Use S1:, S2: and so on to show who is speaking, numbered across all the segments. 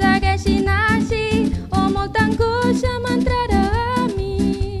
S1: segueixin així o molta angoixa m'entrarà a mi.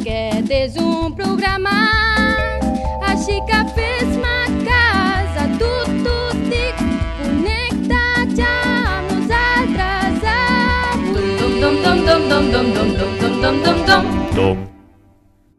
S1: Aquest és un programa